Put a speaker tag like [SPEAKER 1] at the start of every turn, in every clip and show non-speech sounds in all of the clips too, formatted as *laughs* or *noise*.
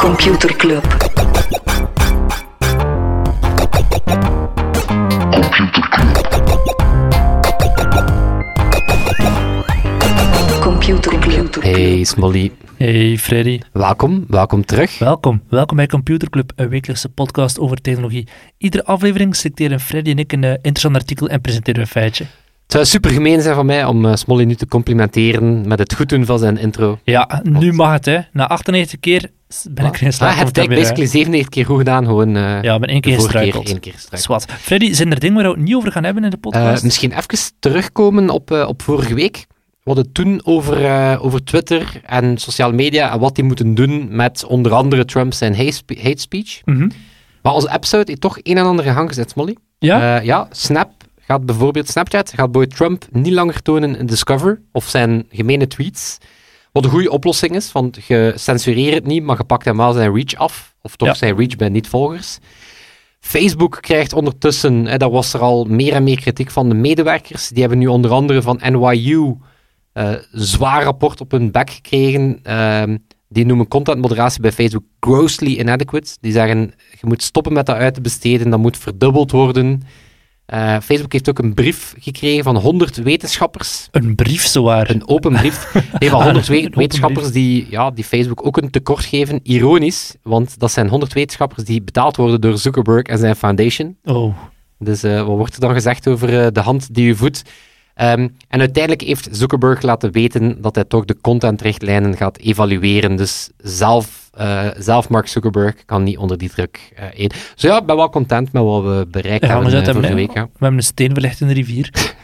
[SPEAKER 1] Computer Club. Computer Club.
[SPEAKER 2] Hey Smolly,
[SPEAKER 3] Hey Freddy,
[SPEAKER 2] welkom, welkom terug.
[SPEAKER 3] welkom. Welkom bij Computer Club, een wekelijkse podcast over technologie. Iedere aflevering selecteren Freddy en ik een eh, interessant artikel en presenteren we een feitje.
[SPEAKER 2] Het zou super gemeen zijn van mij om eh, Smolly nu te complimenteren met het goed doen van zijn intro.
[SPEAKER 3] Ja, nu mag het hè. Na 98 keer s- ben ik erin
[SPEAKER 2] Ah, hij
[SPEAKER 3] slaagd.
[SPEAKER 2] heeft eigenlijk basically 97 keer goed gedaan, gewoon eh,
[SPEAKER 3] Ja, ik ben één
[SPEAKER 2] de
[SPEAKER 3] keer
[SPEAKER 2] vorige keer
[SPEAKER 3] gestruikeld.
[SPEAKER 2] één keer gestruikeld.
[SPEAKER 3] Zwat. Freddy, zijn er dingen waar we het niet over gaan hebben in de podcast?
[SPEAKER 2] Eh, misschien even terugkomen op, eh, op vorige week. We hadden het toen over, eh, over Twitter en sociale media en wat die moeten doen met onder andere Trump zijn hate, spe- hate speech.
[SPEAKER 3] Mhm.
[SPEAKER 2] Maar onze episode heeft toch een en ander in gang gezet, Smolly.
[SPEAKER 3] Ja?
[SPEAKER 2] Eh, ja, Snap gaat bijvoorbeeld, Snapchat gaat boy Trump niet langer tonen in Discover of zijn gemene tweets. Wat een goede oplossing is, want je censureert het niet, maar je pakt hem wel zijn reach af. Of toch
[SPEAKER 3] Ja.
[SPEAKER 2] zijn reach bij niet-volgers. Facebook krijgt ondertussen, hè, daar was er al meer en meer kritiek van de medewerkers. Die hebben nu onder andere van NYU eh zwaar rapport op hun bek gekregen. Ehm, die noemen contentmoderatie bij Facebook grossly inadequate. Die zeggen, je moet stoppen met dat uit te besteden, dat moet verdubbeld worden. Eh, Facebook heeft ook een brief gekregen van 100 wetenschappers.
[SPEAKER 3] Een brief zowaar.
[SPEAKER 2] Eh, Een open brief. Nee, van
[SPEAKER 3] *laughs*
[SPEAKER 2] 100 we-
[SPEAKER 3] Een open
[SPEAKER 2] wetenschappers die, ja, die Facebook ook een tekort geven. Ironisch, want dat zijn 100 wetenschappers die betaald worden door Zuckerberg en zijn foundation.
[SPEAKER 3] Oh,
[SPEAKER 2] Dus eh, wat wordt er dan gezegd over eh, de hand die u voedt? Ehm, en uiteindelijk heeft Zuckerberg laten weten dat hij toch de contentrichtlijnen gaat evalueren. Dus zelf, eh, zelf Mark Zuckerberg kan niet onder die druk eh in. Dus ja, ik ben wel content met wat we bereikt
[SPEAKER 3] ja, we
[SPEAKER 2] hebben eh,
[SPEAKER 3] zetten
[SPEAKER 2] vorige
[SPEAKER 3] hem, hè.
[SPEAKER 2] week. Ja.
[SPEAKER 3] we hebben een steen verlegd in de rivier.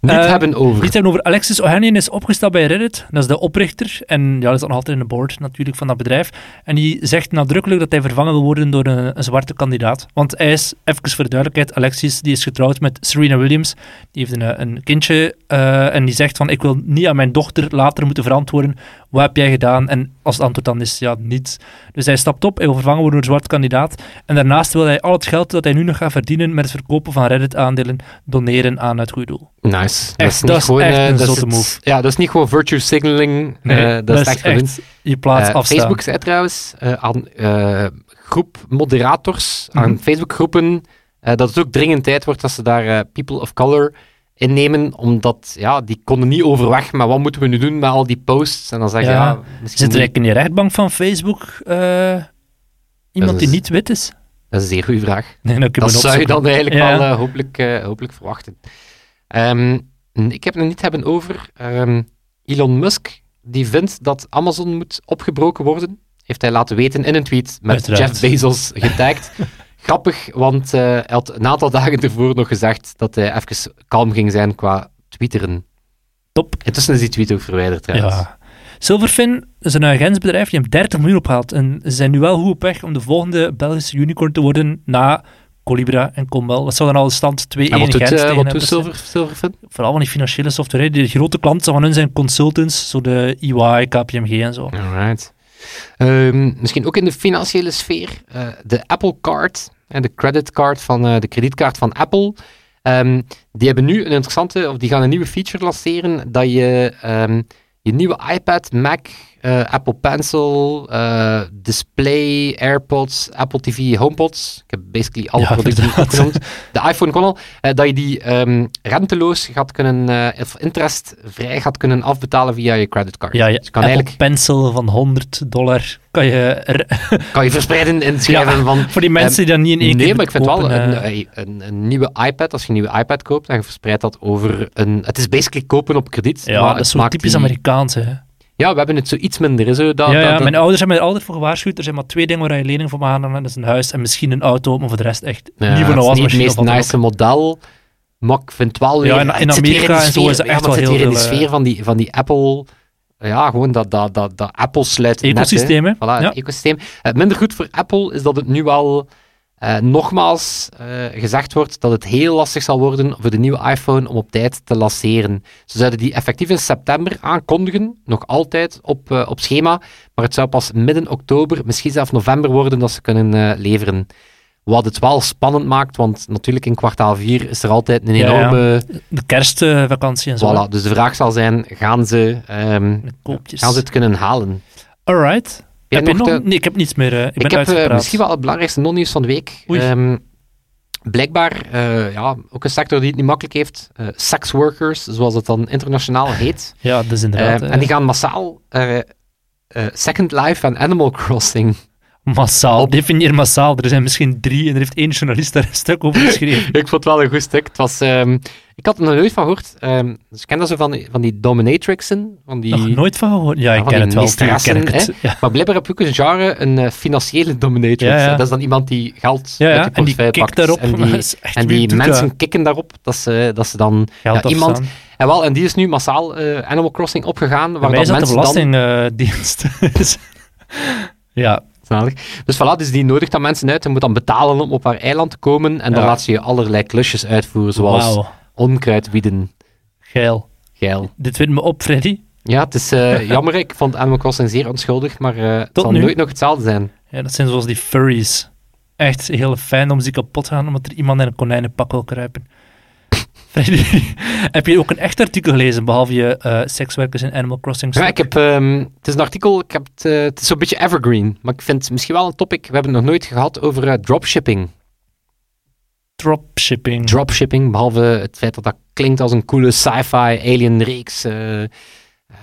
[SPEAKER 2] Niet
[SPEAKER 3] Eh,
[SPEAKER 2] hebben over.
[SPEAKER 3] Iets hebben over Alexis Ohanian is opgestapt bij Reddit. Dat is de oprichter. En ja, dat is dan nog altijd in de board natuurlijk van dat bedrijf. En die zegt nadrukkelijk dat hij vervangen wil worden door een, een zwarte kandidaat. Want hij is, even voor de duidelijkheid, Alexis die is getrouwd met Serena Williams. Die heeft een, een kindje. eh, en die zegt van, ik wil niet aan mijn dochter later moeten verantwoorden. Wat heb jij gedaan? En als het antwoord dan is, ja, niets. Dus hij stapt op, hij wil vervangen worden door een zwarte kandidaat. En daarnaast wil hij al het geld dat hij nu nog gaat verdienen met het verkopen van Reddit-aandelen, doneren aan het goede doel.
[SPEAKER 2] Nice.
[SPEAKER 3] Echt, dat is echt
[SPEAKER 2] eh,
[SPEAKER 3] een
[SPEAKER 2] dat is
[SPEAKER 3] zotte
[SPEAKER 2] het-
[SPEAKER 3] move.
[SPEAKER 2] Ja, dat is niet gewoon virtue signaling.
[SPEAKER 3] Nee,
[SPEAKER 2] eh, dat, is echt gewinst.
[SPEAKER 3] je plaats
[SPEAKER 2] Eh,
[SPEAKER 3] afstaan.
[SPEAKER 2] Facebook zei trouwens eh, aan eh, groep moderators, aan
[SPEAKER 3] Mhm.
[SPEAKER 2] Facebookgroepen, eh, dat het ook dringend tijd wordt dat ze daar eh, people of color innemen, omdat ja, die konden niet overweg, maar wat moeten we nu doen met al die posts? En dan zeg je, ja,
[SPEAKER 3] Ja.
[SPEAKER 2] misschien
[SPEAKER 3] Zit er
[SPEAKER 2] moet-
[SPEAKER 3] eigenlijk in die rechtbank van Facebook eh, iemand
[SPEAKER 2] Dat is-
[SPEAKER 3] die niet wit is?
[SPEAKER 2] Dat is een zeer goede vraag.
[SPEAKER 3] Nee, dat,
[SPEAKER 2] Dat zou je dan eigenlijk
[SPEAKER 3] Ja.
[SPEAKER 2] wel eh, hopelijk, eh, hopelijk verwachten. Ehm, ik heb het nog niet hebben over ehm, Elon Musk, die vindt dat Amazon moet opgebroken worden. Heeft hij laten weten in een tweet met Jeff
[SPEAKER 3] Uiteraard. *laughs*
[SPEAKER 2] Bezos getagd. Grappig, want eh, hij had een aantal dagen ervoor nog gezegd dat hij even kalm ging zijn qua twitteren.
[SPEAKER 3] Top.
[SPEAKER 2] Intussen is die tweet ook verwijderd trouwens.
[SPEAKER 3] Ja. Silverfin is een agentsbedrijf die hem 30 miljoen ophaalt. En ze zijn nu wel goed op weg om de volgende Belgische unicorn te worden na Colibra en Combel. Dat zou dan al stand 2-1
[SPEAKER 2] En wat doet,
[SPEAKER 3] Gent
[SPEAKER 2] eh,
[SPEAKER 3] tegen
[SPEAKER 2] wat
[SPEAKER 3] hem
[SPEAKER 2] doet
[SPEAKER 3] dus, zijn.
[SPEAKER 2] Silver, Silverfin?
[SPEAKER 3] Vooral van die financiële software. hè. Die grote klanten van hun zijn consultants, zo de E EY, KPMG en zo.
[SPEAKER 2] Alright. Ehm, misschien ook in de financiële sfeer. eh, de Apple Card, en de creditcard van eh, de kredietkaart van Apple. ehm, die hebben nu een interessante, of die gaan een nieuwe feature lanceren. Dat je ehm, je nieuwe iPad, Mac, eh, Apple Pencil, eh, Display, AirPods, Apple TV, HomePods. Ik heb basically alle
[SPEAKER 3] Ja,
[SPEAKER 2] producten die ik
[SPEAKER 3] inderdaad.
[SPEAKER 2] opgenoemd. De iPhone kon al. eh, dat je die ehm, renteloos gaat kunnen, eh, of interestvrij gaat kunnen afbetalen via je creditcard.
[SPEAKER 3] Ja, je
[SPEAKER 2] Dus je kan
[SPEAKER 3] Apple
[SPEAKER 2] eigenlijk
[SPEAKER 3] Pencil van 100 dollar kan je er-
[SPEAKER 2] kan je verspreiden in het schrijven
[SPEAKER 3] Ja,
[SPEAKER 2] van...
[SPEAKER 3] *laughs*
[SPEAKER 2] eh,
[SPEAKER 3] Voor die mensen die dat niet in één
[SPEAKER 2] Nee,
[SPEAKER 3] keer
[SPEAKER 2] maar ik vind wel
[SPEAKER 3] kopen,
[SPEAKER 2] een,
[SPEAKER 3] eh,
[SPEAKER 2] eh, een, een nieuwe iPad, als je een nieuwe iPad koopt en je verspreidt dat over een... Het is basically kopen op krediet.
[SPEAKER 3] ja,
[SPEAKER 2] maar
[SPEAKER 3] dat
[SPEAKER 2] het
[SPEAKER 3] is zo
[SPEAKER 2] maakt
[SPEAKER 3] typisch
[SPEAKER 2] die-
[SPEAKER 3] Amerikaans. Hè. Ja,
[SPEAKER 2] Ja, we hebben het zoiets minder. hè, Zo, dat, dat-
[SPEAKER 3] ja,
[SPEAKER 2] dat-
[SPEAKER 3] mijn ouders hebben mij er altijd voor gewaarschuwd. Er zijn maar twee dingen waar je lening voor mag aannemen. Dat is een huis en misschien een auto, maar voor de rest echt
[SPEAKER 2] Ja,
[SPEAKER 3] nou, niet voor een
[SPEAKER 2] het is niet het
[SPEAKER 3] wasmachine.
[SPEAKER 2] meest
[SPEAKER 3] of wat dan
[SPEAKER 2] nice model, maar ik vind wel weer...
[SPEAKER 3] Ja, in- in
[SPEAKER 2] het zit weer de
[SPEAKER 3] Amerika en zo
[SPEAKER 2] sfeer-
[SPEAKER 3] is dat
[SPEAKER 2] ja,
[SPEAKER 3] echt
[SPEAKER 2] maar het
[SPEAKER 3] wel
[SPEAKER 2] zit weer
[SPEAKER 3] heel
[SPEAKER 2] in de
[SPEAKER 3] veel, eh,
[SPEAKER 2] sfeer van die, van die Apple... Ja, gewoon dat, dat, dat, dat Apple sluit
[SPEAKER 3] ook. Ecosysteem, hè?
[SPEAKER 2] Voilà,
[SPEAKER 3] ja.
[SPEAKER 2] het ecosysteem. Eh, minder goed voor Apple is dat het nu al eh, nogmaals eh, gezegd wordt dat het heel lastig zal worden voor de nieuwe iPhone om op tijd te lanceren. Ze zouden die effectief in september aankondigen, nog altijd op, eh, op schema, maar het zou pas midden oktober, misschien zelfs november worden dat ze kunnen eh, leveren. Wat het wel spannend maakt, want natuurlijk in kwartaal 4 is er altijd een
[SPEAKER 3] Ja, ja.
[SPEAKER 2] enorme...
[SPEAKER 3] De kerstvakantie en zo.
[SPEAKER 2] Voilà, dus de vraag zal zijn, gaan ze, ehm,
[SPEAKER 3] De koopjes.
[SPEAKER 2] gaan ze het kunnen halen?
[SPEAKER 3] Alright.
[SPEAKER 2] Heb je jij
[SPEAKER 3] heb je nog...
[SPEAKER 2] de-
[SPEAKER 3] Nee, ik heb niets meer. eh, ik ben
[SPEAKER 2] ik heb eh,
[SPEAKER 3] uitgepraat.
[SPEAKER 2] misschien wel het belangrijkste non-nieuws van de week.
[SPEAKER 3] Oei.
[SPEAKER 2] Ehm, blijkbaar, eh, ja, ook een sector die het niet makkelijk heeft. eh sex workers, zoals het dan internationaal heet.
[SPEAKER 3] Ja, dat is Ah, inderdaad.
[SPEAKER 2] Eh,
[SPEAKER 3] eh,
[SPEAKER 2] en die gaan massaal eh, eh, Second Life en Animal Crossing. *laughs*
[SPEAKER 3] Massaal. Definieer massaal. Er zijn misschien drie en er heeft één journalist daar een stuk over geschreven.
[SPEAKER 2] ik vond het wel een goed stuk. Het was, ehm, ik had er nog nooit van gehoord. Ehm, dus ik ken dat zo van, die- van die dominatrixen. Van die,
[SPEAKER 3] Nog nooit van gehoord?
[SPEAKER 2] Ja,
[SPEAKER 3] Ja, ik
[SPEAKER 2] van
[SPEAKER 3] ken
[SPEAKER 2] die
[SPEAKER 3] het wel. tuurlijk ken ik
[SPEAKER 2] misdressen,
[SPEAKER 3] het. *laughs* Ja,
[SPEAKER 2] Maar blijkbaar heb je ook een genre, een eh, financiële dominatrix.
[SPEAKER 3] Ja, ja.
[SPEAKER 2] hè. Dat is dan iemand die geld
[SPEAKER 3] ja, ja.
[SPEAKER 2] uit je
[SPEAKER 3] en die
[SPEAKER 2] portefeuille
[SPEAKER 3] kikt
[SPEAKER 2] pakt.
[SPEAKER 3] daarop.
[SPEAKER 2] En
[SPEAKER 3] maar
[SPEAKER 2] die,
[SPEAKER 3] *laughs* dat is echt
[SPEAKER 2] en
[SPEAKER 3] wie
[SPEAKER 2] die
[SPEAKER 3] doet dat?
[SPEAKER 2] mensen kikken daarop dat ze, dat ze dan
[SPEAKER 3] Geld
[SPEAKER 2] ja, iemand-
[SPEAKER 3] afstaan.
[SPEAKER 2] En wel, en die is nu massaal eh, Animal Crossing opgegaan. Waar
[SPEAKER 3] Bij mij
[SPEAKER 2] dan
[SPEAKER 3] is dat de
[SPEAKER 2] mensen dan...
[SPEAKER 3] belastingdienst. *laughs* ja,
[SPEAKER 2] Zalig. Dus voilà, dus die nodigt dan mensen uit en moet dan betalen om op haar eiland te komen. En dan
[SPEAKER 3] Ja.
[SPEAKER 2] laat ze je allerlei klusjes uitvoeren, zoals
[SPEAKER 3] wauw.
[SPEAKER 2] onkruid wieden.
[SPEAKER 3] Geil.
[SPEAKER 2] Geil.
[SPEAKER 3] Dit wint me op, Freddy.
[SPEAKER 2] Ja, het is
[SPEAKER 3] *laughs*
[SPEAKER 2] eh, jammer. Ik vond Animal Crossing zeer onschuldig, maar eh, het
[SPEAKER 3] Tot
[SPEAKER 2] zal
[SPEAKER 3] nu.
[SPEAKER 2] nooit nog hetzelfde zijn.
[SPEAKER 3] Ja, dat zijn zoals die furries. Echt heel fijn om ze kapot te gaan, omdat er iemand in een konijnenpak wil kruipen. *laughs* Freddy, *laughs* heb je ook een echt artikel gelezen, behalve je eh, sekswerkers in Animal Crossing?
[SPEAKER 2] Ja, ik
[SPEAKER 3] stuk?
[SPEAKER 2] heb, ehm, het is een artikel, ik heb het, eh, het is zo'n beetje evergreen. Maar ik vind het misschien wel een topic, we hebben het nog nooit gehad over eh,
[SPEAKER 3] Hmm.
[SPEAKER 2] dropshipping.
[SPEAKER 3] Dropshipping.
[SPEAKER 2] Dropshipping, behalve het feit dat dat klinkt als een coole sci-fi alien reeks. eh, eh,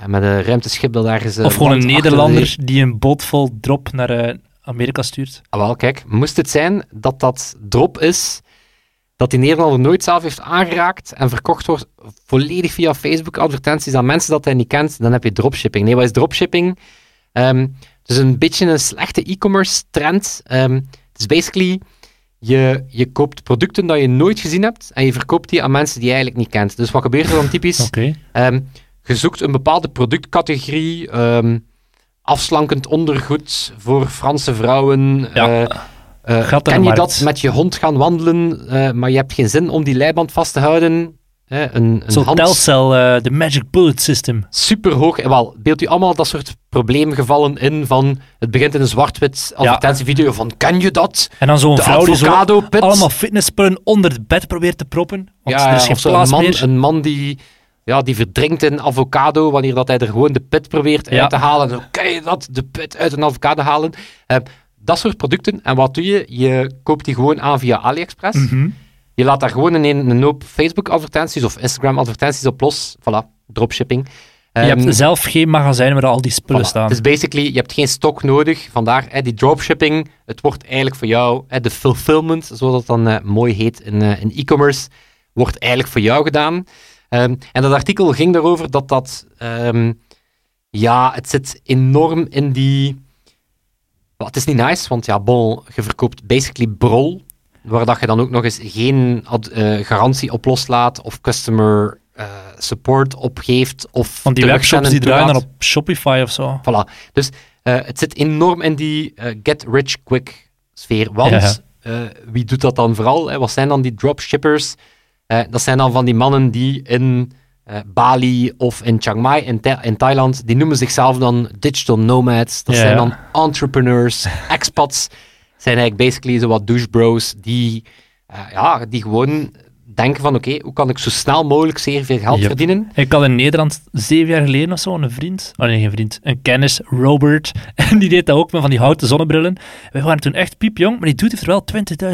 [SPEAKER 2] met een ruimteschip dat daar is. eh,
[SPEAKER 3] of gewoon een
[SPEAKER 2] land achter
[SPEAKER 3] Nederlander die een boot vol drop naar eh, Amerika stuurt.
[SPEAKER 2] Ah, wel, kijk, moest het zijn dat dat drop is, dat die Nederlander nooit zelf heeft aangeraakt en verkocht wordt volledig via Facebook-advertenties aan mensen dat hij niet kent, dan heb je dropshipping. Nee, wat is dropshipping? Ehm het is een beetje een slechte e-commerce trend. Ehm, het is basically, je, je koopt producten dat je nooit gezien hebt en je verkoopt die aan mensen die je eigenlijk niet kent. Dus wat gebeurt er dan typisch?
[SPEAKER 3] *laughs* Oké.
[SPEAKER 2] Ehm, je zoekt een bepaalde productcategorie, ehm, afslankend ondergoed voor Franse vrouwen.
[SPEAKER 3] Ja.
[SPEAKER 2] eh, eh,
[SPEAKER 3] Gat
[SPEAKER 2] kan
[SPEAKER 3] aan de
[SPEAKER 2] je
[SPEAKER 3] markt.
[SPEAKER 2] dat met je hond gaan wandelen, eh, maar je hebt geen zin om die leiband vast te houden? Eh, een een
[SPEAKER 3] Zo'n
[SPEAKER 2] hand
[SPEAKER 3] Telcel, eh, de Magic Bullet System.
[SPEAKER 2] superhoog. Eh, wel, beeld u allemaal dat soort probleemgevallen in van het begint in een zwart-wit advertentievideo van kan je dat?
[SPEAKER 3] En dan zo'n
[SPEAKER 2] De
[SPEAKER 3] vrouw die zo
[SPEAKER 2] avocado pit.
[SPEAKER 3] allemaal fitnesspullen onder het bed probeert te proppen. Want er is geen
[SPEAKER 2] of zo
[SPEAKER 3] plaats
[SPEAKER 2] een man,
[SPEAKER 3] meer.
[SPEAKER 2] een man die, ja, die verdrinkt in avocado wanneer dat hij er gewoon de pit probeert
[SPEAKER 3] Ja.
[SPEAKER 2] uit te halen. Zo, kan je dat, de pit uit een avocado halen? Eh, dat soort producten. En wat doe je? Je koopt die gewoon aan via AliExpress.
[SPEAKER 3] Mhm.
[SPEAKER 2] Je laat daar gewoon in een, een hoop Facebook-advertenties of Instagram-advertenties op los. Voilà, dropshipping.
[SPEAKER 3] Je
[SPEAKER 2] Ehm,
[SPEAKER 3] hebt zelf geen magazijn waar al die
[SPEAKER 2] voilà.
[SPEAKER 3] spullen staan.
[SPEAKER 2] Dus basically, je hebt geen stok nodig. Vandaar eh, die dropshipping. Het wordt eigenlijk voor jou, eh, de fulfillment, zoals dat dan eh, mooi heet in, eh, in e-commerce, wordt eigenlijk voor jou gedaan. Ehm, en dat artikel ging erover dat dat, ehm, ja, het zit enorm in die. Wel, het is niet nice, want ja, bon, je verkoopt basically brol, waar dat je dan ook nog eens geen ad- eh, garantie op loslaat of customer eh, support opgeeft. Of
[SPEAKER 3] Want die
[SPEAKER 2] terugzenden
[SPEAKER 3] webshops die draaien dan
[SPEAKER 2] toelaat.
[SPEAKER 3] op Shopify of zo.
[SPEAKER 2] Voilà. Dus eh, het zit enorm in die eh, get rich quick sfeer. Want
[SPEAKER 3] Ja, ja.
[SPEAKER 2] eh, wie doet dat dan vooral? Hè? Wat zijn dan die dropshippers? Eh, dat zijn dan van die mannen die in eh, Bali of in Chiang Mai in, Tha- in Thailand, die noemen zichzelf dan digital nomads. Dat
[SPEAKER 3] Ja,
[SPEAKER 2] zijn
[SPEAKER 3] ja.
[SPEAKER 2] dan
[SPEAKER 3] *laughs*
[SPEAKER 2] entrepreneurs, expats. Zijn eigenlijk basically zo wat douchebros die, eh, ja, die gewoon denken van oké, hoe kan ik zo snel mogelijk zeer veel geld
[SPEAKER 3] Yep.
[SPEAKER 2] verdienen?
[SPEAKER 3] Ik had in Nederland zeven jaar geleden of zo een vriend, oh nee, geen vriend, een kennis, Robert, *laughs* en die deed dat ook met van die houten zonnebrillen. We waren toen echt piepjong, maar die dude heeft er wel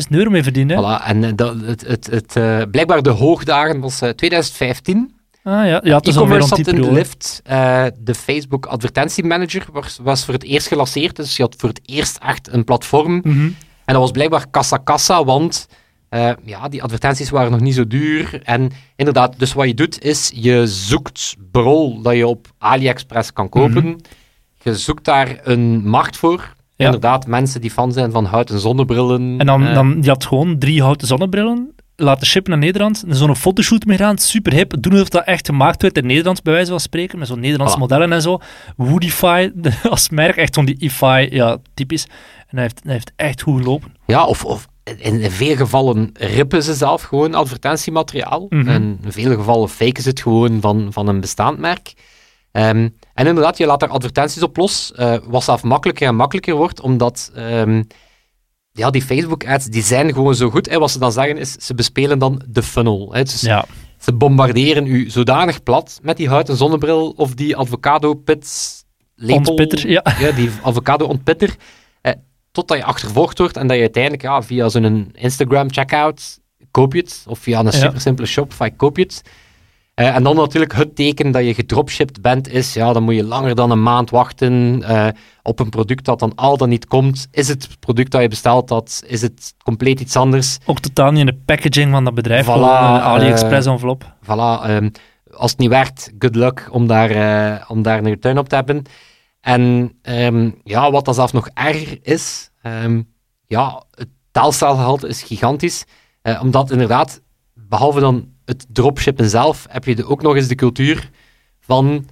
[SPEAKER 3] 20.000 euro mee verdiend. Hè?
[SPEAKER 2] Voilà, en eh, dat, het, het, het, eh, blijkbaar de hoogdagen was eh, 2015.
[SPEAKER 3] Ah ja, ja het is
[SPEAKER 2] E-commerce
[SPEAKER 3] alweer rond
[SPEAKER 2] zat
[SPEAKER 3] die
[SPEAKER 2] in de
[SPEAKER 3] periode.
[SPEAKER 2] lift. Eh, de Facebook advertentiemanager was, was voor het eerst gelanceerd. Dus je had voor het eerst echt een platform.
[SPEAKER 3] Mhm.
[SPEAKER 2] En dat was blijkbaar kassa-kassa, want eh, ja, die advertenties waren nog niet zo duur. En inderdaad, dus wat je doet is, je zoekt brol dat je op AliExpress kan
[SPEAKER 3] Mhm.
[SPEAKER 2] kopen. Je zoekt daar een markt voor.
[SPEAKER 3] Ja.
[SPEAKER 2] Inderdaad, mensen die fan zijn van houten zonnebrillen.
[SPEAKER 3] En dan,
[SPEAKER 2] eh,
[SPEAKER 3] dan, die had gewoon drie houten zonnebrillen, laten shippen naar Nederland, en zo'n fotoshoot mee gedaan, super hip, doen alsof dat echt gemaakt werd in Nederland, bij wijze van spreken, met zo'n Nederlandse
[SPEAKER 2] Voilà.
[SPEAKER 3] modellen en zo. Woodify de- *laughs* als merk, echt zo'n die IFI, ja, typisch. En hij heeft, hij heeft echt goed gelopen.
[SPEAKER 2] Ja, of, of in in veel gevallen rippen ze zelf gewoon advertentiemateriaal.
[SPEAKER 3] Mhm.
[SPEAKER 2] En in vele gevallen faken ze het gewoon van, van een bestaand merk. Ehm, en inderdaad, je laat daar advertenties op los, eh, wat zelf makkelijker en makkelijker wordt, omdat ehm, ja, die Facebook-ads die zijn gewoon zo goed. En wat ze dan zeggen is, ze bespelen dan de funnel. Hè. Dus
[SPEAKER 3] Ja.
[SPEAKER 2] Ze bombarderen u zodanig plat met die houten zonnebril of die avocado pits lepel...
[SPEAKER 3] Ontpitter, ja.
[SPEAKER 2] ja, die avocado-ontpitter. Eh, totdat je achtervolgd wordt en dat je uiteindelijk ja, via zo'n Instagram-checkout koop je het. Of via een
[SPEAKER 3] Ja.
[SPEAKER 2] super simpele Shopify koop je het. Eh, en dan natuurlijk het teken dat je gedropshipped bent is, ja, dan moet je langer dan een maand wachten eh, op een product dat dan al dan niet komt. Is het product dat je besteld had, is het compleet iets anders?
[SPEAKER 3] Ook totaal niet in de packaging van dat bedrijf.
[SPEAKER 2] Voilà,
[SPEAKER 3] Gewoon een AliExpress
[SPEAKER 2] eh,
[SPEAKER 3] envelop.
[SPEAKER 2] Voilà, ehm, als het niet werkt, good luck om daar, eh, om daar een return op te hebben. En ehm, ja, wat dan zelf nog erger is, ehm, ja, het taalstaalgehalte is gigantisch. Eh, omdat inderdaad, behalve dan het dropshippen zelf, heb je de, ook nog eens de cultuur van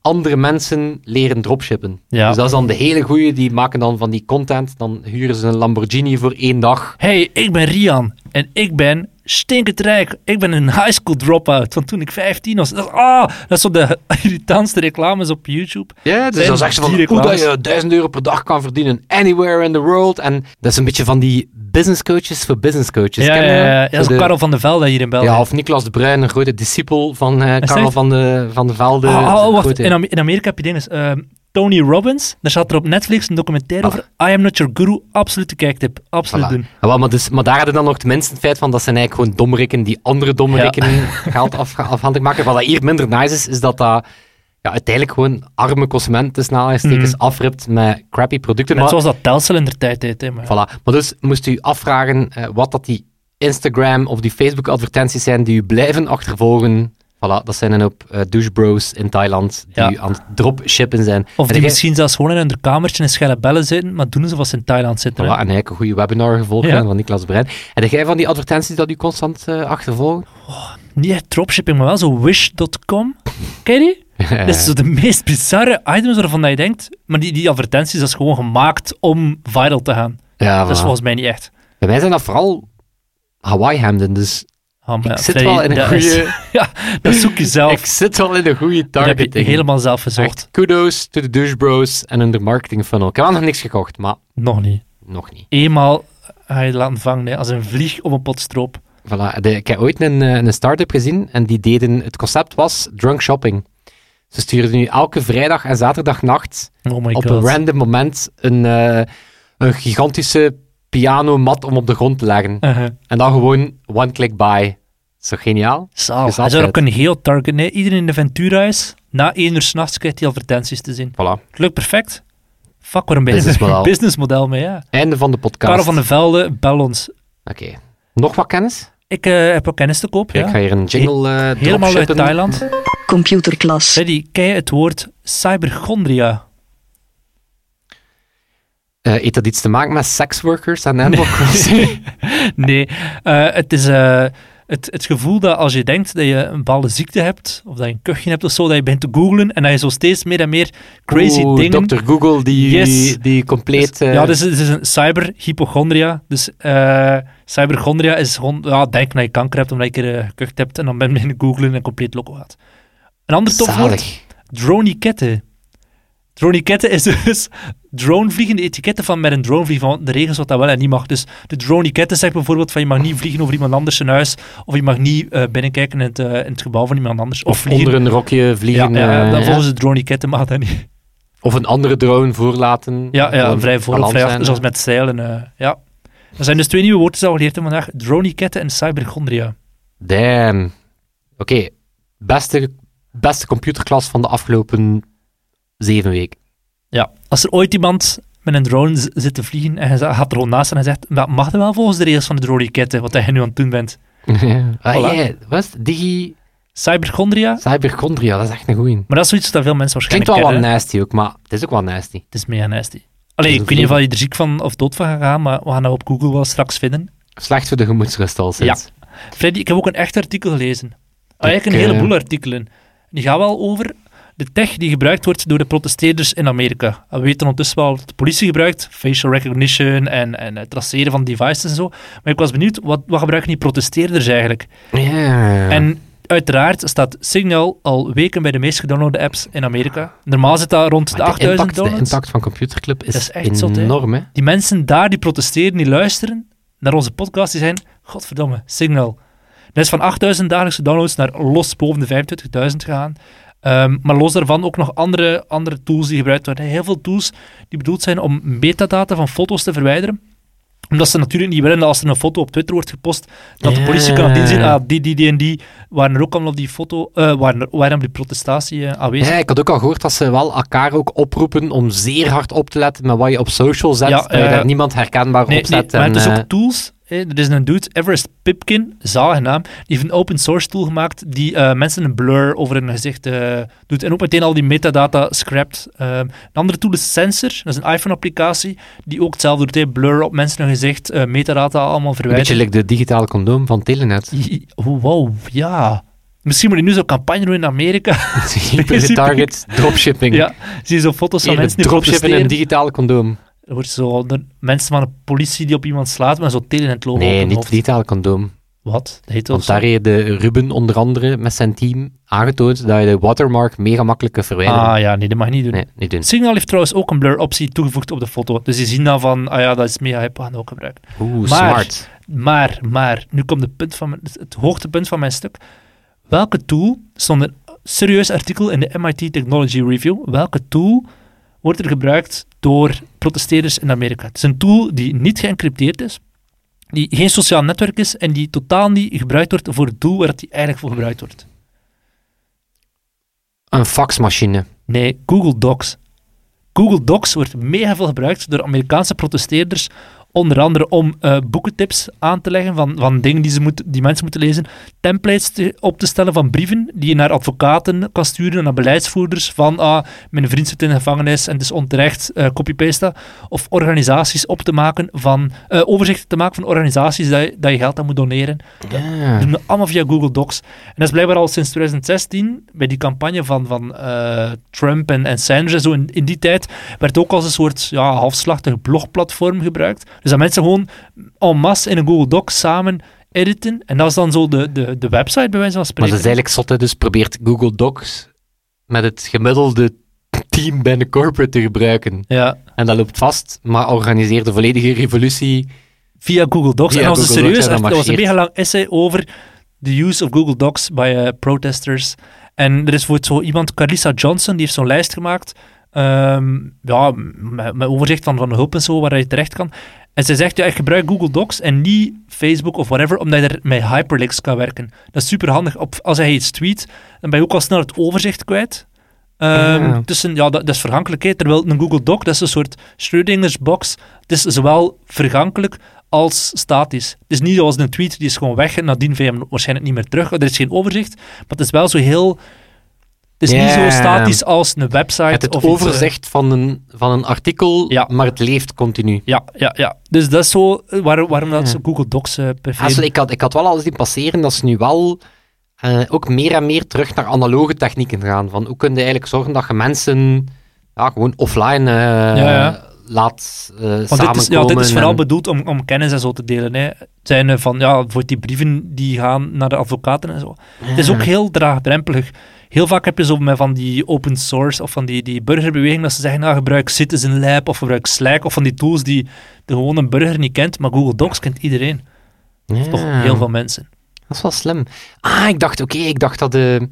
[SPEAKER 2] andere mensen leren dropshippen.
[SPEAKER 3] Ja.
[SPEAKER 2] Dus dat is dan de hele goeie, die maken dan van die content, dan huren ze een Lamborghini voor één dag.
[SPEAKER 3] hey, ik ben Rian en ik ben stinkend rijk. Ik ben een high school dropout van toen ik 15 was. Dat, ah, dat is zo de *laughs* irritantste reclames op YouTube.
[SPEAKER 2] Ja, dus
[SPEAKER 3] En
[SPEAKER 2] dan zeggen ze van
[SPEAKER 3] die
[SPEAKER 2] hoe dat
[SPEAKER 3] reclames.
[SPEAKER 2] je 1000 euro per dag kan verdienen anywhere in the world. En dat is een beetje van die business coaches voor business coaches.
[SPEAKER 3] ja,
[SPEAKER 2] Dus Ken je
[SPEAKER 3] ja,
[SPEAKER 2] dat?
[SPEAKER 3] ja, ja, dat is
[SPEAKER 2] Zo de-
[SPEAKER 3] Karel van der Velde hier in België.
[SPEAKER 2] ja, of Niklas de Bruin, een grote discipel van eh
[SPEAKER 3] Is
[SPEAKER 2] Karel
[SPEAKER 3] dat-
[SPEAKER 2] van de, van de Velde.
[SPEAKER 3] Ah, ah,
[SPEAKER 2] Een
[SPEAKER 3] wacht,
[SPEAKER 2] grote-
[SPEAKER 3] in, Am- in Amerika heb je dingen. eh, Tony Robbins, daar zat er op Netflix een documentaire over. I Am Not Your Guru, absolute kijktip. Absoluut
[SPEAKER 2] Ah. Voilà.
[SPEAKER 3] doen.
[SPEAKER 2] Ah, wel, maar, dus, maar daar hadden dan nog tenminste het feit van dat zijn eigenlijk gewoon dommerikken die andere dommerikken *laughs* geld af, afhankelijk maken. Wat dat hier minder nice is, is dat dat ja, uiteindelijk gewoon arme consumenten snel
[SPEAKER 3] Mhm.
[SPEAKER 2] aanstekens afript met crappy producten.
[SPEAKER 3] Net
[SPEAKER 2] Maar-
[SPEAKER 3] zoals dat Telcel in der tijd deed. Hè, maar-
[SPEAKER 2] Voilà. Maar dus moest u afvragen eh, wat dat die Instagram of die Facebook advertenties zijn die u blijven achtervolgen. Voilà, dat zijn een hoop eh, douchebros in Thailand die
[SPEAKER 3] Ja.
[SPEAKER 2] u aan het dropshippen zijn.
[SPEAKER 3] Of
[SPEAKER 2] En
[SPEAKER 3] die
[SPEAKER 2] jij-
[SPEAKER 3] misschien zelfs gewoon in hun kamertje in Schellebellen zitten, maar doen ze wat ze in Thailand
[SPEAKER 2] Voilà,
[SPEAKER 3] zitten.
[SPEAKER 2] en
[SPEAKER 3] hè.
[SPEAKER 2] eigenlijk een goede webinar gevolgd
[SPEAKER 3] Ja.
[SPEAKER 2] hè, van Niklas Brein. En jij van die advertenties dat u constant eh, achtervolgen?
[SPEAKER 3] Niet echt dropshipping, maar wel zo wish.com. Ken je die?
[SPEAKER 2] *laughs*
[SPEAKER 3] Dat is zo de meest bizarre items waarvan dat je denkt. Maar die, die advertenties, dat is gewoon gemaakt om viral te gaan.
[SPEAKER 2] ja,
[SPEAKER 3] Dat is
[SPEAKER 2] voilà.
[SPEAKER 3] volgens mij niet echt.
[SPEAKER 2] Bij mij zijn dat vooral Hawaii-hemden, dus
[SPEAKER 3] Ah, maar
[SPEAKER 2] ik,
[SPEAKER 3] ja,
[SPEAKER 2] zit
[SPEAKER 3] Freddy,
[SPEAKER 2] wel in een
[SPEAKER 3] dat is-
[SPEAKER 2] goede,
[SPEAKER 3] Dat zoek je zelf.
[SPEAKER 2] *laughs* ik zit wel in een goede
[SPEAKER 3] dat heb je
[SPEAKER 2] targeting.
[SPEAKER 3] helemaal zelf gezocht.
[SPEAKER 2] Echt kudos to the douchebros en hun marketing funnel. Ik heb wel nog niks gekocht, maar
[SPEAKER 3] Nog niet.
[SPEAKER 2] nog niet.
[SPEAKER 3] eenmaal ga je het laten vangen, hè, als een vlieg op een pot stroop.
[SPEAKER 2] Voilà, de- ik heb ooit een, eh, een start-up gezien en die deden, het concept was drunk shopping. Ze stuurden nu elke vrijdag en zaterdagnacht
[SPEAKER 3] Oh my
[SPEAKER 2] op een
[SPEAKER 3] god.
[SPEAKER 2] random moment een, eh, een gigantische pianomat om op de grond te leggen.
[SPEAKER 3] Uh-huh.
[SPEAKER 2] En dan gewoon one-click buy. Zo geniaal.
[SPEAKER 3] Zalig.
[SPEAKER 2] Is
[SPEAKER 3] Hij zou
[SPEAKER 2] altijd.
[SPEAKER 3] dat kunnen heel targeten. hè. Iedereen in de Ventura is, na één uur s'nachts krijgt hij advertenties te zien.
[SPEAKER 2] Voilà.
[SPEAKER 3] Het lukt perfect. Fuck, waarom ben je
[SPEAKER 2] Businessmodel.
[SPEAKER 3] een *laughs* businessmodel mee, ja.
[SPEAKER 2] Einde van de podcast.
[SPEAKER 3] Karel van de Velde, bel ons.
[SPEAKER 2] Oké. Nog wat kennis?
[SPEAKER 3] Ik eh, heb ook kennis te koop,
[SPEAKER 2] Ik
[SPEAKER 3] ja.
[SPEAKER 2] ga hier een jingle eh
[SPEAKER 3] Helemaal uit
[SPEAKER 2] dropshippen.
[SPEAKER 3] Thailand.
[SPEAKER 1] Computerklas.
[SPEAKER 3] Freddy, ken je het woord cyberchondria?
[SPEAKER 2] Eh, heeft dat iets te maken met seksworkers en
[SPEAKER 3] *laughs*
[SPEAKER 2] Animal Crossing?
[SPEAKER 3] Nee, eh, het is eh, het, het gevoel dat als je denkt dat je een bepaalde ziekte hebt, of dat je een kuchje hebt of zo, dat je begint te googlen en dat je zo steeds meer en meer crazy
[SPEAKER 2] Oeh,
[SPEAKER 3] dingen...
[SPEAKER 2] Dr. Google die,
[SPEAKER 3] Yes.
[SPEAKER 2] die compleet...
[SPEAKER 3] Dus-
[SPEAKER 2] eh,
[SPEAKER 3] ja, dus het is een cyberhypochondria. Dus eh cyberchondria is gewoon, ja, denk dat je kanker hebt omdat je een keer eh, gekucht hebt en dan ben je beginnen googlen en compleet loco gaat. Een ander tof woord,
[SPEAKER 2] eh, zalig.
[SPEAKER 3] droniketten. Droniketten is dus dronevliegen, de etiketten van met een drone vliegen, van de regels wat dat wel en niet mag. Dus de droniketten zegt bijvoorbeeld van je mag niet vliegen over iemand anders zijn huis, of je mag niet eh, binnenkijken in het, eh, in het gebouw van iemand anders. Of,
[SPEAKER 2] Of
[SPEAKER 3] vliegen.
[SPEAKER 2] onder een rokje
[SPEAKER 3] ja,
[SPEAKER 2] vliegen.
[SPEAKER 3] ja,
[SPEAKER 2] eh,
[SPEAKER 3] dan
[SPEAKER 2] ja.
[SPEAKER 3] volgens de droniketten mag *laughs* dat niet.
[SPEAKER 2] Of een andere drone voorlaten.
[SPEAKER 3] Ja, ja
[SPEAKER 2] Gewoon
[SPEAKER 3] vrij voor of
[SPEAKER 2] balans
[SPEAKER 3] vrij
[SPEAKER 2] zijn,
[SPEAKER 3] achter,
[SPEAKER 2] eh.
[SPEAKER 3] zoals met zeilen. eh, ja. Er zijn dus twee nieuwe woorden die we al geleerd hebben vandaag. Droniketten en cyberchondria.
[SPEAKER 2] Damn. Oké, beste, beste computerklas van de afgelopen zeven
[SPEAKER 3] *laughs*
[SPEAKER 2] weken.
[SPEAKER 3] Ja. Als er ooit iemand met een drone z- zit te vliegen en hij za- gaat er gewoon naast en hij zegt, "Maar mag dat wel volgens de regels van de droniketten, wat jij nu aan het doen bent?
[SPEAKER 2] ah,
[SPEAKER 3] Voilà.
[SPEAKER 2] ja, wat is het? Digi
[SPEAKER 3] Cyberchondria?
[SPEAKER 2] Cyberchondria, dat is echt een goeie.
[SPEAKER 3] Maar dat is zoiets dat veel mensen
[SPEAKER 2] Klinkt wel
[SPEAKER 3] waarschijnlijk
[SPEAKER 2] wel nasty
[SPEAKER 3] kennen.
[SPEAKER 2] ook, maar het is ook wel nasty.
[SPEAKER 3] Het is mega nasty. Allee,
[SPEAKER 2] Het is
[SPEAKER 3] ik weet niet of
[SPEAKER 2] een-
[SPEAKER 3] je er ziek van of dood van gaat gaan, maar we gaan dat op Google wel straks vinden.
[SPEAKER 2] Slecht voor de gemoedsrust al sinds.
[SPEAKER 3] Freddy, ik heb ook een echt artikel gelezen. Ah,
[SPEAKER 2] Ik,
[SPEAKER 3] Eigenlijk een
[SPEAKER 2] eh,
[SPEAKER 3] heleboel artikelen. Die gaan wel over de tech die gebruikt wordt door de protesteerders in Amerika. We weten ondertussen wel wat de politie gebruikt, facial recognition en, en het traceren van devices en zo. Maar ik was benieuwd, wat, wat gebruiken die protesteerders eigenlijk?
[SPEAKER 2] Ja.
[SPEAKER 3] En uiteraard staat Signal al weken bij de meest gedownloade apps in Amerika. Normaal zit dat rond de
[SPEAKER 2] Maar de,
[SPEAKER 3] 8000
[SPEAKER 2] impact, de
[SPEAKER 3] downloads.
[SPEAKER 2] impact van computerclub is,
[SPEAKER 3] Dat is echt zot, hè?
[SPEAKER 2] enorm, hè?
[SPEAKER 3] Die mensen daar die protesteren, die luisteren naar onze podcast, die zijn, godverdomme, Signal. Dat is van 8000 dagelijkse downloads naar los boven de 25.000 gegaan. Ehm, maar los daarvan ook nog andere, andere tools die gebruikt worden. Heel veel tools die bedoeld zijn om metadata van foto's te verwijderen. Omdat ze natuurlijk niet willen dat als er een foto op Twitter wordt gepost, dat de politie kan
[SPEAKER 2] Ja.
[SPEAKER 3] inzien, ah, die, die, die en die waren er ook allemaal op die foto, eh waren, er- waren op die protestatie eh, aanwezig.
[SPEAKER 2] Ja, ik had ook al gehoord dat ze wel elkaar ook oproepen om zeer hard op te letten met wat je op social zet,
[SPEAKER 3] Ja,
[SPEAKER 2] dat je
[SPEAKER 3] eh,
[SPEAKER 2] daar niemand herkenbaar
[SPEAKER 3] Nee,
[SPEAKER 2] op zet.
[SPEAKER 3] nee, maar
[SPEAKER 2] en,
[SPEAKER 3] het is
[SPEAKER 2] eh,
[SPEAKER 3] ook tools. hè. Er is een dude, Everest Pipkin, zalige naam, die heeft een open source tool gemaakt die eh, mensen een blur over hun gezicht eh, doet en ook meteen al die metadata scrapt. Ehm, een andere tool is Sensor, dat is een iPhone-applicatie die ook hetzelfde doet, hè. blur op mensen hun gezicht, eh, metadata allemaal
[SPEAKER 2] een beetje
[SPEAKER 3] verwijderen.
[SPEAKER 2] like de digitale condoom van
[SPEAKER 3] *laughs*
[SPEAKER 2] Telenet. *laughs*
[SPEAKER 3] I- oh, Wow, ja. Misschien moet je nu zo'n campagne doen in Amerika.
[SPEAKER 2] Hyper target dropshipping.
[SPEAKER 3] ja, zie je zo foto's van
[SPEAKER 2] Hier,
[SPEAKER 3] mensen die
[SPEAKER 2] dropshipping en een
[SPEAKER 3] protesteren.
[SPEAKER 2] digitale condoom.
[SPEAKER 3] Er wordt zo onder mensen van de politie die op iemand slaat, maar zo telen het logo op
[SPEAKER 2] Nee,
[SPEAKER 3] hun
[SPEAKER 2] niet
[SPEAKER 3] hoofd.
[SPEAKER 2] digitale condoom.
[SPEAKER 3] Wat? Oh, Dat heet
[SPEAKER 2] Want
[SPEAKER 3] dat zo?
[SPEAKER 2] daar heeft de Ruben onder andere met zijn team aangetoond dat je de watermark mega makkelijk kunt verwijderen.
[SPEAKER 3] Ah ja, nee, dat mag je niet doen.
[SPEAKER 2] Nee, niet doen.
[SPEAKER 3] Signal heeft trouwens ook een blur optie toegevoegd op de foto. Dus die zien dan van, ah ja, dat is mega hype, we gaan dat ook gebruiken.
[SPEAKER 2] Oeh,
[SPEAKER 3] Maar-
[SPEAKER 2] smart.
[SPEAKER 3] Maar, maar, nu komt het, punt van mijn- het- het hoogtepunt van mijn stuk. Welke tool, stond een serieus artikel in de MIT Technology Review, welke tool wordt er gebruikt door protesteerders in Amerika? Het is een tool die niet geëncrypteerd is, die geen sociaal netwerk is en die totaal niet gebruikt wordt voor het doel waar het die eigenlijk voor gebruikt wordt.
[SPEAKER 2] Een faxmachine.
[SPEAKER 3] Nee, Google Docs. Google Docs wordt mega veel gebruikt door Amerikaanse protesteerders. Onder andere om eh, boekentips aan te leggen van, van dingen die, ze moeten die mensen moeten lezen. Templates te- op te stellen van brieven die je naar advocaten kan sturen, en naar beleidsvoerders. Van ah, mijn vriend zit in de gevangenis en het is onterecht, eh copy-paste. dat. Of organisaties op te maken van, eh, overzichten te maken van organisaties dat je, dat je geld aan moet doneren.
[SPEAKER 2] Ja.
[SPEAKER 3] Doen dat allemaal via Google Docs. En dat is blijkbaar al sinds 2016, bij die campagne van, van eh, Trump en, en Sanders en zo. In, in die tijd werd ook als een soort ja, halfslachtig blogplatform gebruikt. Dus dat mensen gewoon en masse in een Google Doc samen editen. En dat is dan zo de, de, de website, bij wijze van
[SPEAKER 2] Maar
[SPEAKER 3] spreken.
[SPEAKER 2] dat is eigenlijk zot, hè. dus probeert Google Docs met het gemiddelde team bij een corporate te gebruiken.
[SPEAKER 3] Ja,
[SPEAKER 2] En dat loopt vast, maar organiseert de volledige revolutie.
[SPEAKER 3] via Google Docs.
[SPEAKER 2] Via
[SPEAKER 3] en dat was een
[SPEAKER 2] Google Docs
[SPEAKER 3] serieus,
[SPEAKER 2] en dat
[SPEAKER 3] artikel, dat was een
[SPEAKER 2] marcheert.
[SPEAKER 3] mega lang essay over de use of Google Docs bij eh, protesters. En er is voor zo iemand, Carissa Johnson, die heeft zo'n lijst gemaakt. ehm, ja, met, met overzicht van, van hulp en zo, waar je terecht kan. En ze zegt, ja, ik gebruik Google Docs en niet Facebook of whatever, omdat je er met hyperlinks kan werken. Dat is super handig. Op, als hij iets tweet, dan ben je ook al snel het overzicht kwijt. Ehm,
[SPEAKER 2] Ja.
[SPEAKER 3] Tussen, ja, dat, dat is vergankelijk. hè. Terwijl een Google Doc, dat is een soort Schrödinger's box. Het is zowel vergankelijk als statisch. Het is niet zoals een tweet, die is gewoon weg en nadien vind je hem waarschijnlijk niet meer terug. Er is geen overzicht, maar het is wel zo heel... Het is
[SPEAKER 2] Ja.
[SPEAKER 3] niet zo statisch als een website.
[SPEAKER 2] Het, het
[SPEAKER 3] of iets, eh,
[SPEAKER 2] overzicht van een, van een artikel,
[SPEAKER 3] Ja.
[SPEAKER 2] maar het leeft continu.
[SPEAKER 3] ja, ja, ja. Dus dat is zo eh, waar, waarom dat ze Google Docs eh
[SPEAKER 2] Hassel,
[SPEAKER 3] perfect...
[SPEAKER 2] ik, had, ik had wel alles die passeren dat ze nu wel eh, ook meer en meer terug naar analoge technieken gaan. Van hoe kun je eigenlijk zorgen dat je mensen ja, gewoon offline eh,
[SPEAKER 3] ja.
[SPEAKER 2] laat eh
[SPEAKER 3] Want dit
[SPEAKER 2] samenkomen.
[SPEAKER 3] is, ja, dit is vooral
[SPEAKER 2] en-
[SPEAKER 3] bedoeld om, om kennis en zo te delen. Hè. Het zijn eh, van, ja, voor die brieven die gaan naar de advocaten en zo. Het is ook heel draagdrempelig. Heel vaak heb je zo met van die open source of van die, die burgerbeweging dat ze zeggen, nou, gebruik Citizen Lab of gebruik Slack of van die tools die de gewone burger niet kent, maar Google Docs kent iedereen.
[SPEAKER 2] Ja.
[SPEAKER 3] Toch heel veel mensen.
[SPEAKER 2] Dat is wel slim. Ah, ik dacht, oké, ik dacht dat de...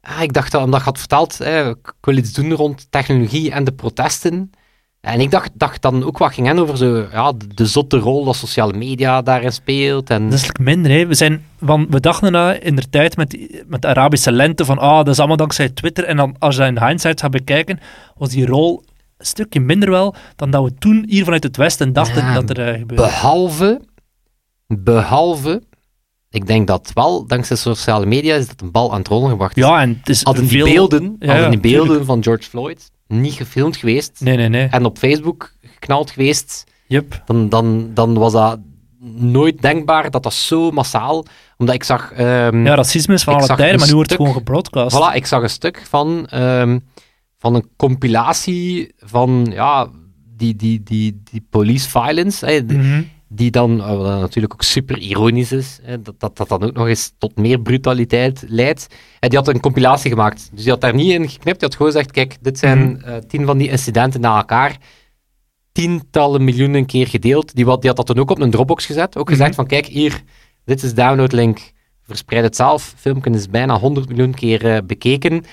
[SPEAKER 2] Ah, ik dacht dat, omdat je had verteld, eh, ik ik wil iets doen rond technologie en de protesten. En ik dacht, dacht dan ook wat ging hen over zo, ja, de, de zotte rol dat sociale media daarin speelt. En...
[SPEAKER 3] Dat is eigenlijk minder, hè. We, zijn, want we dachten na in de tijd met, die- met de Arabische lente van, ah, dat is allemaal dankzij Twitter. En dan, als je dat in hindsight gaat bekijken, was die rol een stukje minder wel dan dat we toen hier vanuit het Westen dachten
[SPEAKER 2] Ja,
[SPEAKER 3] dat er eh, gebeurde.
[SPEAKER 2] Behalve, behalve, ik denk dat wel, dankzij sociale media, is dat een bal aan het rollen gebracht.
[SPEAKER 3] Ja, en het is
[SPEAKER 2] hadden die
[SPEAKER 3] veel-
[SPEAKER 2] beelden,
[SPEAKER 3] Ja,
[SPEAKER 2] hadden die
[SPEAKER 3] tuurlijk.
[SPEAKER 2] beelden van George Floyd niet gefilmd geweest
[SPEAKER 3] Nee, nee, nee.
[SPEAKER 2] en op Facebook geknald geweest,
[SPEAKER 3] Yep.
[SPEAKER 2] dan, dan, dan was dat nooit denkbaar dat dat zo massaal... Omdat ik zag... ehm,
[SPEAKER 3] Ja, racisme is van
[SPEAKER 2] Ik
[SPEAKER 3] alle
[SPEAKER 2] zag
[SPEAKER 3] tijden,
[SPEAKER 2] een
[SPEAKER 3] maar nu wordt het
[SPEAKER 2] stuk-
[SPEAKER 3] gewoon gebroadcast.
[SPEAKER 2] Voilà, ik zag een stuk van, ehm, van een compilatie van ja, die, die, die, die police violence, hè, die-
[SPEAKER 3] Mhm.
[SPEAKER 2] die dan, eh, wat dan natuurlijk ook super ironisch is, hè, dat, dat dat dan ook nog eens tot meer brutaliteit leidt. En die had een compilatie gemaakt. Dus die had daar niet in geknipt, die had gewoon gezegd, kijk, dit zijn
[SPEAKER 3] Mhm.
[SPEAKER 2] eh, tien van die incidenten na elkaar, tientallen miljoenen keer gedeeld. Die, wat, die had dat dan ook op een Dropbox gezet, ook gezegd
[SPEAKER 3] Mhm.
[SPEAKER 2] van, kijk, hier, dit is downloadlink, verspreid het zelf. Filmpje is bijna 100 miljoen keer eh, bekeken.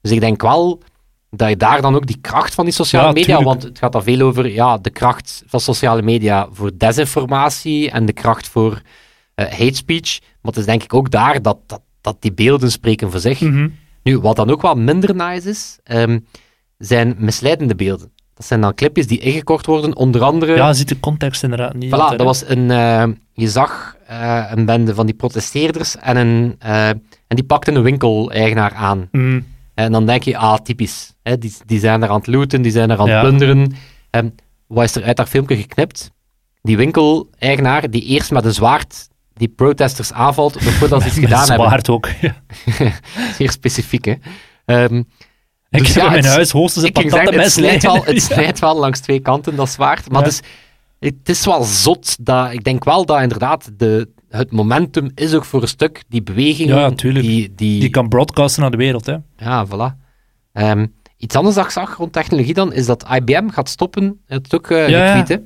[SPEAKER 2] Dus ik denk wel dat je daar dan ook die kracht van die sociale
[SPEAKER 3] Ja,
[SPEAKER 2] media,
[SPEAKER 3] tuurlijk.
[SPEAKER 2] want het gaat dan veel over ja, de kracht van sociale media voor desinformatie en de kracht voor eh, hate speech. Maar het is denk ik ook daar dat, dat, dat die beelden spreken voor zich.
[SPEAKER 3] Mhm.
[SPEAKER 2] Nu, wat dan ook wel minder nice is, ehm, zijn misleidende beelden. Dat zijn dan clipjes die ingekort worden, onder andere...
[SPEAKER 3] Ja, ziet de context inderdaad niet.
[SPEAKER 2] Voilà, dat
[SPEAKER 3] altijd, hè.
[SPEAKER 2] was een. eh, je zag eh, een bende van die protesteerders en, een, eh, en die pakte een winkeleigenaar aan.
[SPEAKER 3] *laughs* Mhm.
[SPEAKER 2] En dan denk je, ah, typisch. Hè, die, die zijn er aan het looten, die zijn er aan het
[SPEAKER 3] Ja.
[SPEAKER 2] plunderen. En wat is er uit dat filmpje geknipt? Die winkeleigenaar die eerst met een zwaard die protesters aanvalt voordat ze iets
[SPEAKER 3] *laughs* Met
[SPEAKER 2] gedaan hebben.
[SPEAKER 3] zwaard ook. Ja.
[SPEAKER 2] Zeer specifiek, hè. Ehm,
[SPEAKER 3] Ik
[SPEAKER 2] Dus
[SPEAKER 3] heb
[SPEAKER 2] ja,
[SPEAKER 3] in mijn
[SPEAKER 2] het-
[SPEAKER 3] huis hoogstens een
[SPEAKER 2] ik ging
[SPEAKER 3] patat
[SPEAKER 2] zeggen,
[SPEAKER 3] en
[SPEAKER 2] het snijdt, wel, het
[SPEAKER 3] Ja.
[SPEAKER 2] snijdt wel langs twee kanten, dat zwaard. Maar
[SPEAKER 3] Ja.
[SPEAKER 2] dus, het is wel zot. Dat, ik denk wel dat inderdaad de, het momentum is ook voor een stuk die beweging.
[SPEAKER 3] Ja, tuurlijk.
[SPEAKER 2] Die, die,
[SPEAKER 3] *laughs* Die kan broadcasten naar de wereld, hè.
[SPEAKER 2] Ja, voilà. Ehm, iets anders dat ik zag rond technologie dan, is dat IBM gaat stoppen, het is ook eh
[SPEAKER 3] Ja, ja.
[SPEAKER 2] getweet, hè,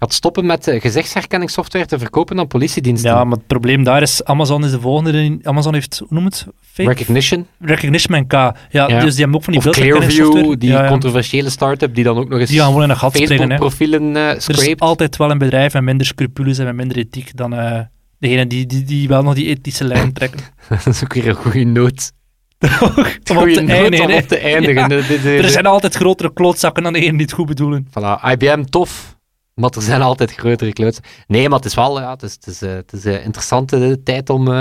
[SPEAKER 2] gaat stoppen met eh, gezichtsherkenningssoftware te verkopen aan politiediensten.
[SPEAKER 3] Ja, maar het probleem daar is, Amazon is de volgende. die- Amazon heeft, hoe noem het? Fake?
[SPEAKER 2] Recognition
[SPEAKER 3] Recognition en K. Ja, dus die hebben ook van die
[SPEAKER 2] of Clearview,
[SPEAKER 3] beeldherkenningssoftware.
[SPEAKER 2] die
[SPEAKER 3] ja, ja.
[SPEAKER 2] controversiële start-up die dan ook nog eens
[SPEAKER 3] Die gaan gewoon in een gat springen, hè.
[SPEAKER 2] Facebook-profielen eh
[SPEAKER 3] Er is
[SPEAKER 2] scrapt.
[SPEAKER 3] altijd wel een bedrijf met minder scrupules en met minder ethiek dan eh degene die, die, die wel nog die ethische lijn trekken.
[SPEAKER 2] *laughs* Dat is ook weer een goede noot.
[SPEAKER 3] *laughs* Om op
[SPEAKER 2] Goeie
[SPEAKER 3] te
[SPEAKER 2] noot
[SPEAKER 3] eindigen,
[SPEAKER 2] om
[SPEAKER 3] hè.
[SPEAKER 2] op te eindigen.
[SPEAKER 3] Ja.
[SPEAKER 2] Dit- dit- dit-
[SPEAKER 3] Er zijn altijd grotere klootzakken dan degene die het goed bedoelen.
[SPEAKER 2] Voilà, IBM tof, maar er zijn altijd grotere kluts. Nee, maar het is wel ja, het is, het is, eh, het is een interessante tijd om, eh,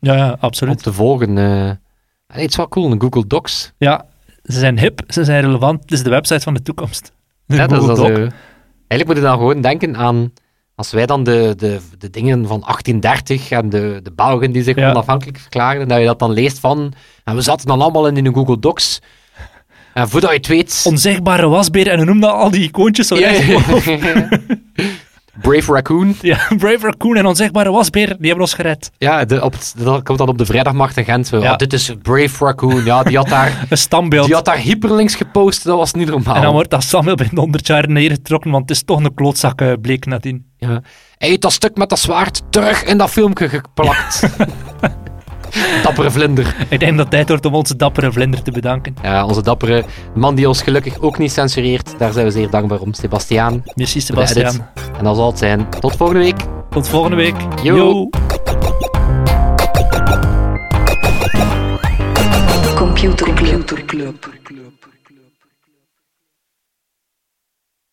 [SPEAKER 3] Ja, ja,
[SPEAKER 2] om
[SPEAKER 3] absoluut.
[SPEAKER 2] te volgen. eh. En het is wel cool, een Google Docs.
[SPEAKER 3] Ja, ze zijn hip, ze zijn relevant. Het is de website van de toekomst. De
[SPEAKER 2] Ja, dat is
[SPEAKER 3] Google
[SPEAKER 2] dat,
[SPEAKER 3] Doc.
[SPEAKER 2] eh, eigenlijk moet je dan gewoon denken aan, als wij dan de, de, de dingen van 1830 en de, de Belgen die zich
[SPEAKER 3] Ja.
[SPEAKER 2] onafhankelijk verklaarden, dat je dat dan leest van, en we zaten dan allemaal in een Google Docs. En voordat je het weet...
[SPEAKER 3] Onzichtbare wasbeer en noem dat al die icoontjes. Zo
[SPEAKER 2] Ja, *laughs*
[SPEAKER 3] rechts
[SPEAKER 2] ja,
[SPEAKER 3] boven.
[SPEAKER 2] ja. Brave Raccoon.
[SPEAKER 3] *laughs* Ja, Brave Raccoon en Onzichtbare Wasbeer, die hebben ons gered.
[SPEAKER 2] Ja, de, op het- dat komt dan op de vrijdagmarkt in Gent. Zo.
[SPEAKER 3] Ja.
[SPEAKER 2] Ah, dit is Brave Raccoon. Ja, die had
[SPEAKER 3] *laughs*
[SPEAKER 2] daar,
[SPEAKER 3] Een standbeeld.
[SPEAKER 2] die had daar hyperlinks gepost. Dat was niet normaal.
[SPEAKER 3] En dan wordt dat standbeeld binnen 100 jaar neergetrokken, want het is toch een klootzak, eh, bleek nadien.
[SPEAKER 2] ja. Hij heeft dat stuk met dat zwaard terug in dat filmpje geplakt. dappere vlinder.
[SPEAKER 3] Ik denk dat het tijd wordt om onze dappere vlinder te bedanken.
[SPEAKER 2] Ja, onze dappere man die ons gelukkig ook niet censureert. Daar zijn we zeer dankbaar om. Sebastiaan.
[SPEAKER 3] Merci,
[SPEAKER 2] voor de edit.
[SPEAKER 3] Sebastian.
[SPEAKER 2] En dat zal het zijn. Tot volgende week.
[SPEAKER 3] Tot volgende week.
[SPEAKER 2] Yo.
[SPEAKER 1] Computer Club. Computer Club.